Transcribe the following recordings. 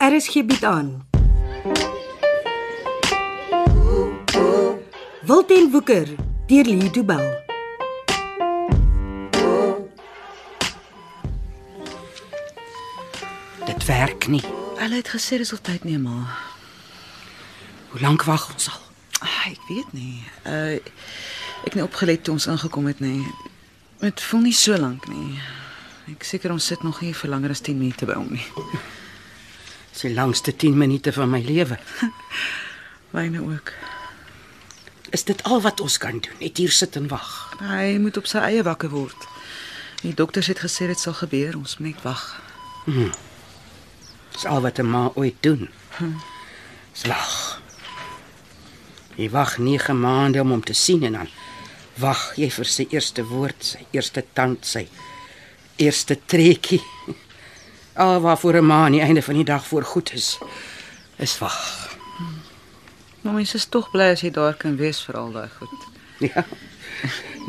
RSG bied Er aan. Wilten Woeker deur Lee Du Bell. Dit werk nie. Hulle het gesê dis al tyd nee maar. Hoe lank wag ons al? Ah, ek weet nie. Uh ek het nie opgelet toe ons ingekom het nie. Dit voel nie so lank nie. Ek seker ons sit nog hier vir langer as 10 minute by hom nie. Dis die langste 10 minute van my lewe. Myne ook. Is dit al wat ons kan doen? Net hier sit en wag. Hy moet op sy eie wakker word. Die dokters het gesê dit sal gebeur. Ons moet net wag. Dis al wat 'n ma ooit doen. Slag. Jy wag 9 maande om hom te sien en dan wag jy vir sy eerste woord, sy eerste tand, sy eerste trekkie. Al waarvoor 'n ma aan die einde van die dag voor goed is, is wag. Maar mense is tog bly as jy daar kan wees vir al daai goed. Ja.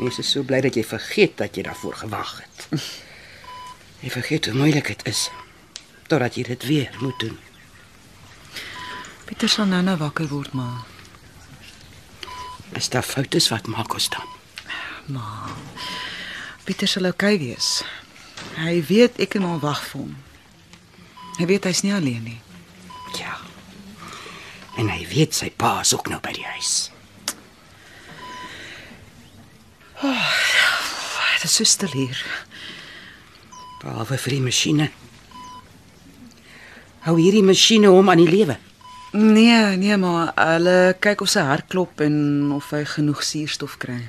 Mense is so bly dat jy vergeet dat jy daarvoor gewag het. Jy vergeet hoe moeilik dit is totdat jy dit weer moet doen. Pieter sal nou-nou wakker word maar. As daar foute is, wat maak ons dan? Pieter sal oukei okay wees. Hy weet ek en hom wag vir hom. Hy weet hy's nie alleen nie. Ja. En hy weet sy pa is ook nou by die huis. Dit is so stil hier. Behalwe vir die masjiene. Hou hierdie masjiene hom aan die lewe. Nee, nee maar hulle kyk of sy hart klop en of hy genoeg suurstof kry.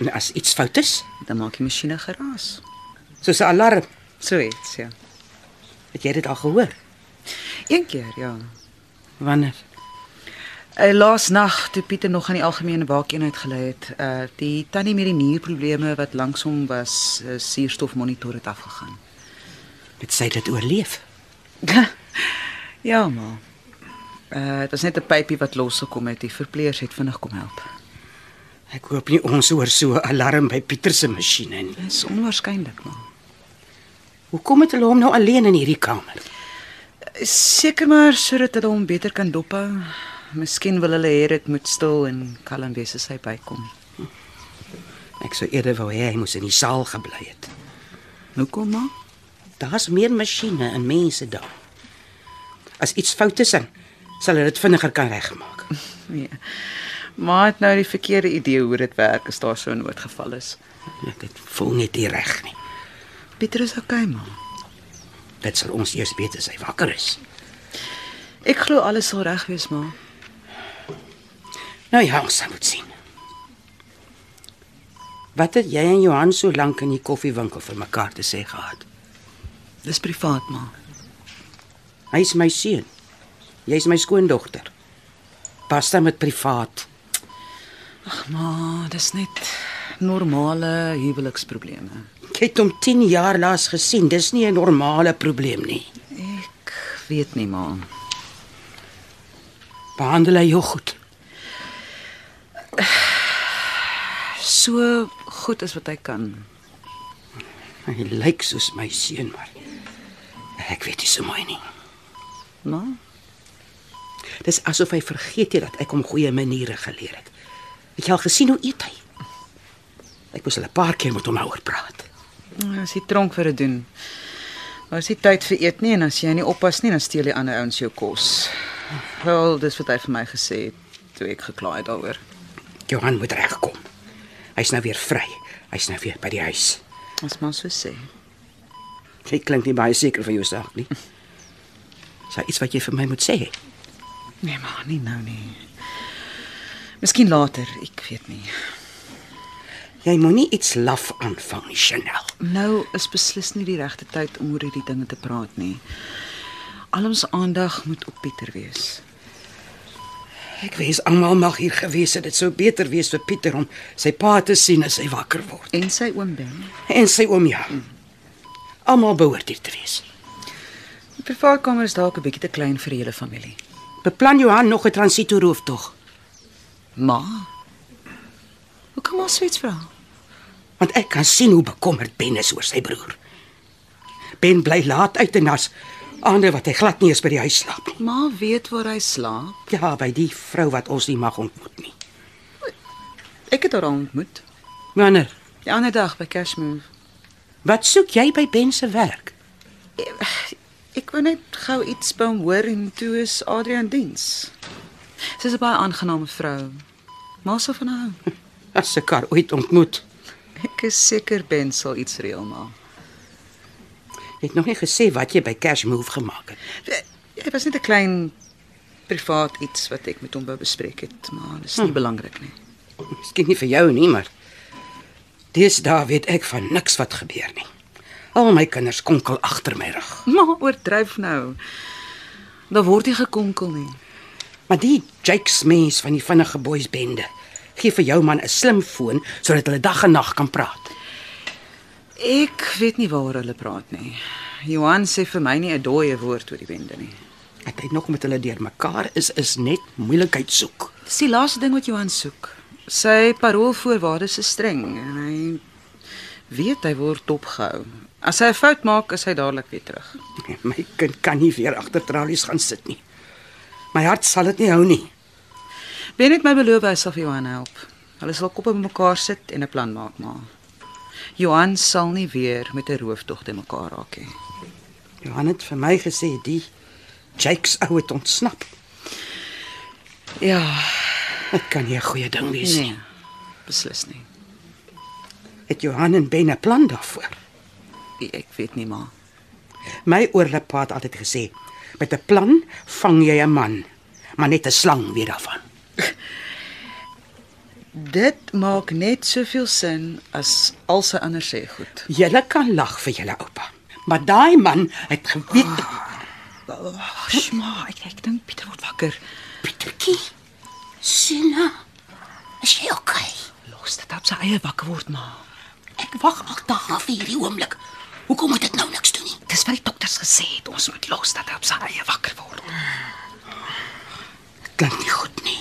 En as iets fout is, Dan maak die masjiene geraas. soos 'n alarm, So iets, ja. het jy dit al gehoor? Een keer, ja. Wanneer? Uh, laas nag toe Pieter nog aan die algemene waakeenheid gelei het, uh die tannie met die nierprobleme wat langs hom was, uh, suurstofmonitor het afgegaan. Dit sê dit oorleef. ja, maar. Uh dit was net 'n pypie wat losgekom het. Die verpleegers het vinnig kom help. Ek hoop nie ons hoor so 'n alarm by Pieter se masjiene nie. Dit is onwaarskynlik, maar. Hoekom het hulle hom nou alleen in hierdie kamer? Seker maar sodat hulle hom beter kan dophou. Miskien wil hulle hê dit moet stil en kalm wees as hy bykom. Ek sou eerder wou hê hy moes in die saal gebly het. Hoekom maar? Daar's meer masjiene en mense daar. As iets fout is, dan sal hulle dit vinniger kan regmaak. Nee. Maar het nou die verkeerde idee hoe dit werk as daar so 'n noodgeval is. Ek dit voel net nie reg nie. Pieter is okay, ma. Dit sal ons eers weet as hy wakker is. Ek glo alles sal reg wees, ma. Nou ja, ons sal moet sien. Wat het jy en Johan so lank in die koffiewinkel vir mekaar te sê gehad? Dis privaat, ma. Hy's my seun. Jy's my skoondogter. Pas dan met privaat. Ag, ma, dis net normale huweliksprobleme. Jy het hom 10 jaar laas gesien. Dis nie 'n normale probleem nie. Ek weet nie, ma. Behandel hy jou goed. So goed as wat hy kan. Hy lyk soos my seun, maar ek weet nie so mooi nie. Ma, Dis asof hy vergeet het dat ek hom goeie maniere geleer het. Het jy al gesien hoe eet hy? Ek moes al 'n paar keer met hom daaroor praat. as jy tronk vir dit doen. Maar as jy tyd vir eet nie en as jy nie oppas nie, dan steel die ander ouens jou kos. Wel, dis wat hy vir my gesê het toe ek gekla het daaroor. Johan moet regkom. Hy's nou weer vry. Hy's nou weer by die huis. Ons maar so sê. Jy klink nie baie seker van jou saak nie. Is daar iets wat jy vir my moet sê? Nee, maar nie nou nie. Miskien later, ek weet nie. Jy moenie iets laf aanvang nie, Chanel. Nou is beslis nie die regte tyd om oor hierdie dinge te praat nie. Al ons aandag moet op Pieter wees. Ek wens almal mag hier gewees het. Dit sou beter wees vir Pieter om sy pa te sien as hy wakker word. En sy oom Ben. En sy oom ja. Almal behoort hier te wees. Die privaatkamer is dalk 'n bietjie te klein vir die hele familie. Beplan Johan nog 'n transitoroeftog, Ma. Hoe kom ons iets vra? want ek kan sien hoe bekommerd Ben is oor sy broer. Ben bly laat uit en as Aande wat hy glad nie eens by die huis slaap nie. Ma weet waar hy slaap. Ja, by die vrou wat ons nie mag ontmoet nie. Ek het haar al ontmoet Wanneer? die ander dag by Cashmove. Wat soek jy by Ben se werk? Ek wou net gou iets by hom hoor en toe is Adrian diens. Sy's 'n baie aangename vrou. Ma sal van haar hou. As se kar ooit ontmoet. Ek is seker Ben sal iets reël maar. Jy het nog nie gesê wat jy by Cash Move gemaak het. Dit Eh, was net 'n klein privaat iets wat ek met hom wou bespreek het, maar dit is nie hm. belangrik nie. Miskien nie vir jou nie, maar deesdae weet ek van niks wat gebeur nie. Al my kinders konkel agter my rug. Maar oordryf nou. Daar word nie gekonkel nie. Maar die Jake's mens van die vinnige boys bende gee vir jou man 'n slimfoon sodat hulle dag en nag kan praat. Ek weet nie waar hulle praat nie. Johan sê vir my nie 'n dooie woord oor die wende nie. Dat hy nog met hulle deurmekaar is is net moeilikheid soek. Dis die laaste ding wat Johan soek. Sy paroolvoorwaardes is streng en hy weet hy word dopgehou. As hy 'n fout maak, is hy dadelik weer terug. My kind kan nie weer agter tralies gaan sit nie. My hart sal dit nie hou nie. Ben het my beloof hy sal vir Johan help. Hulle sal koppe bymekaar sit en 'n plan maak maar. Johan sal nie weer met 'n rooftog te mekaar raak nie. Johan het vir my gesê die Jake's ou het ontsnap. Ja, Dit kan nie 'n goeie ding wees nie. nee. Beslis nie. Het Johan en Ben 'n plan daarvoor? Ek weet nie maar. My oorloppa het altyd gesê, met 'n plan vang jy 'n man, maar net 'n slang weer daarvan. Dit maak net soveel sin as al sy ander sê goed. Julle kan lag vir julle oupa, maar daai man het geweet Ag, maar ek ek dink Pieter word wakker. Pietertjie. Sina, is jy okay? Los dit op sy eie wakker word maar. Ek wag al daag vir hierdie oomblik. Hoekom moet dit nou niks doen nie? Dis wat die dokters gesê het, ons moet los dat hy op sy eie wakker word. Dit klink nie goed nie.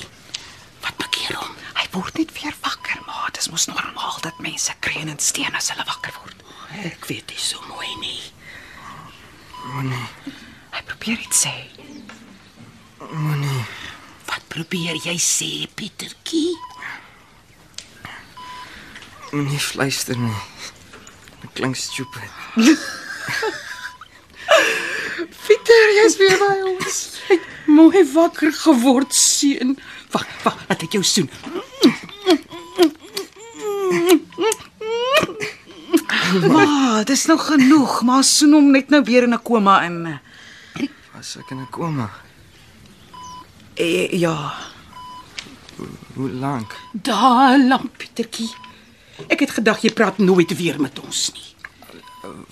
Wat bekeer hom? Hy word net weer wakker maar, dis mos normaal dat mense kreun en steen as hulle wakker word. Ek weet dit so mooi nie. Hy probeer iets sê. Wat probeer jy sê, Pietertjie? Moenie fluister nie. Dit klink stupid. Pieter, jy's weer by ons. Hy het mooi wakker geword, seun. Wag, wag, laat ek jou soen. Ma, dis nou genoeg. Ma soen hom net nou weer in 'n koma in. Was ek in 'n koma? E, ja. Hoe lank? Daai lamp, Pietertjie. Ek het gedag jy praat nooit weer met ons nie.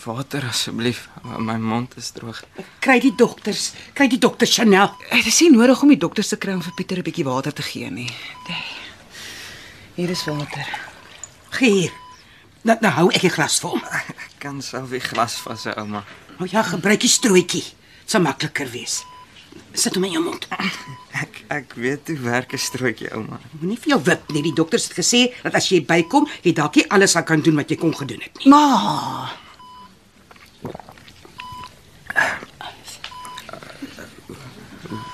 Water asseblief. My mond is droog. Kry die dokters, kry die dokter Chanel. Dit is nie nodig om die dokters te kry om vir Pieter 'n bietjie water te gee nie. Nee. Hier is water. Gee hier. Nou, nou hou ek 'n glas vir hom. Ek kan self die glas vashou, ouma. Nou ja, gebruik die strootjie. Dit sal makliker wees. Sit hom in jou mond. Ek ek weet hoe werk 'n strootjie, ouma. Moenie vir jou wip nie. Die dokters het gesê dat as jy bykom, jy dalk nie alles sal kan doen wat jy kon gedoen het nie. Ma,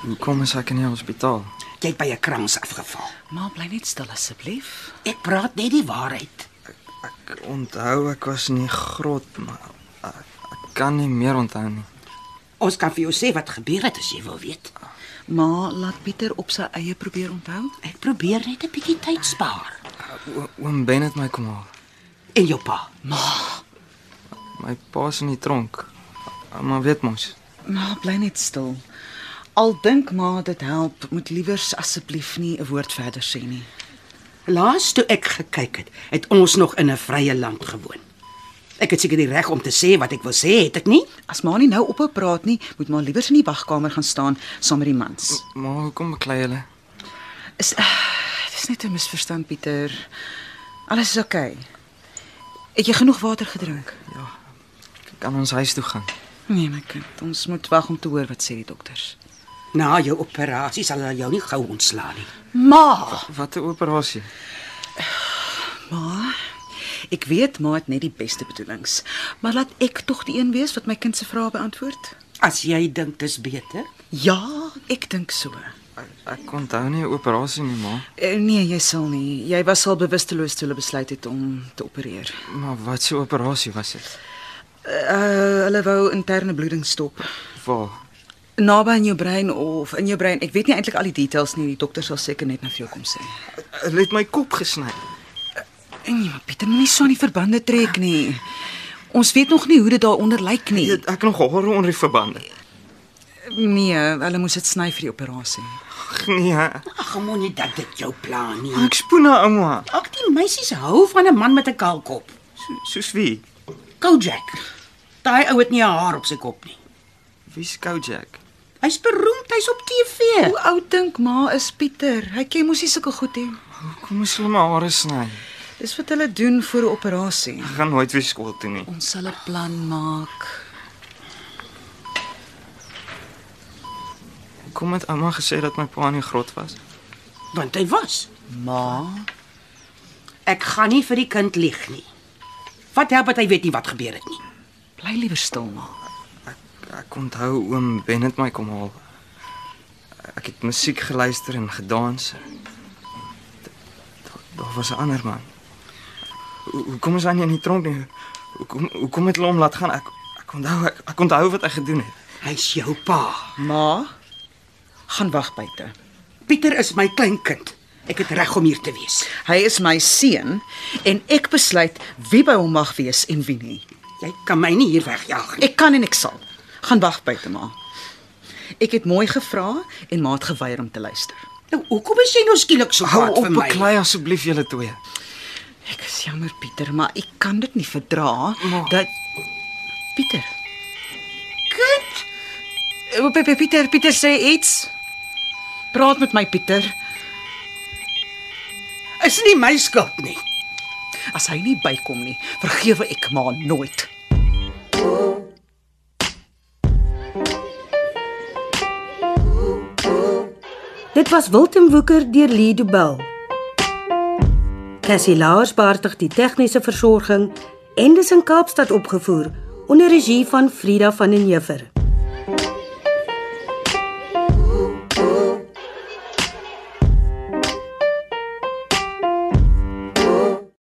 Hoe kom ons ek in die hospitaal? Jy het by 'n krans afgeval. ma bly net stil asseblief. Ek praat net die waarheid. Ek onthou ek was in die grot, maar ek, ek kan nie meer onthou nie. Ons kan vir jou sê wat gebeur het as jy wil weet. Ma, laat Pieter op sy eie probeer onthou. Ek probeer net 'n bietjie tyd spaar. O, oom Ben het my kom haal. En jou pa. My pa's in die tronk. Ouma weet mos. Ma, Nou, bly net stil. Al dink ma dit help, moet liewers asseblief nie 'n woord verder sê nie. Laas toe ek gekyk het, het ons nog in 'n vrye land gewoon. Ek het seker die reg om te sê wat ek wil sê, het ek nie? As ma nie nou ophou praat nie, moet ma liewers in die wagkamer gaan staan saam met die mans. Maar hoekom beklei julle? Is eh, dis net 'n misverstand, Pieter. Alles is oukei. Okay. Het jy genoeg water gedrink? Kan ons huis toe gaan? Nee, my kind. Ons moet wag om te hoor wat sê die dokters. Na jou operasie sal hulle jou nie gou ontslaan nie. Ma, Wat 'n operasie. ma. Ek weet ma het net die beste bedoelings, maar laat ek tog die een wees wat my kind se vrae beantwoord. As jy dink dis beter? Ja, ek dink so. Ek, ek onthou nie 'n operasie nie, ma. Eh, Nee, jy sal nie. Jy was al bewusteloos toe hulle besluit het om te opereer. Maar wat so 'n operasie was dit? Uh, hulle wou interne bloeding stop. Waar? Naby in jou brein of in jou brein. Ek weet nie eintlik al die details nie. Die dokter sal seker net na vir jou kom sê. Hulle het my kop gesny. En nee, maar Pieter, moenie so aan die verbande trek nie. Ons weet nog nie hoe dit daaronder lyk nie. Het ek nog hare onder die verbande? Nee, hulle moes dit sny vir die operasie. Ag nee. Ag, moenie dat dit jou plan nie. Ek spoen na ouma. Ag, die meisies hou van 'n man met 'n kaal kop. So, soos wie? Kojak. Daai ou het nie 'n haar op sy kop nie. Wie skou Jack? Hy's beroemd, hy's op TV. Hoe oud dink ma is Pieter? Hy ken mos nie sulke goed hê. Hoekom moes hulle my hare sny? Dis wat hulle doen vir 'n operasie. Ek gaan nooit weer skool toe nie. Ons sal 'n plan maak. Kom het ouma gesê dat my pa in die grot was? Want hy was. Ma, Ek gaan nie vir die kind lieg nie. Wat help dit hy weet nie wat gebeur het nie. bly liewer stil maar. Ek onthou oom Ben het my kom haal. Ek het musiek geluister en gedans. Da- Daar da was 'n ander man. Ho- Hoekom is hy nie in die tronk nie? Hoekom hoekom het hulle hom laat gaan? Ek ek onthou ek, ek onthou wat hy gedoen het. Hy's jou pa. Ma, gaan wag buite. Pieter is my kleinkind. Ek het reg om hier te wees. Hy is my seun en ek besluit wie by hom mag wees en wie nie. Jy kan my nie hier wegjaag nie. Ek kan en ek sal. Gaan wag buite ma. Ek het mooi gevra en ma het geweier om te luister. Nou, hoekom is jy nou skielik so Hou kwaad op vir my? beklei asseblief julle twee. Ek is jammer Pieter, maar ek kan dit nie verdra Ma. dat Pieter. Kind. Eh, Pieter, Pieter sê iets. Praat met my Pieter. Is nie my skuld nie. As hy nie bykom nie, vergewe ek ma nooit. Dit was Wilten Woeker deur Lee Du Bell. Cassie Lars baartig die tegniese versorging en dis in Kaapstad opgevoer onder regie van Frida van den Heever.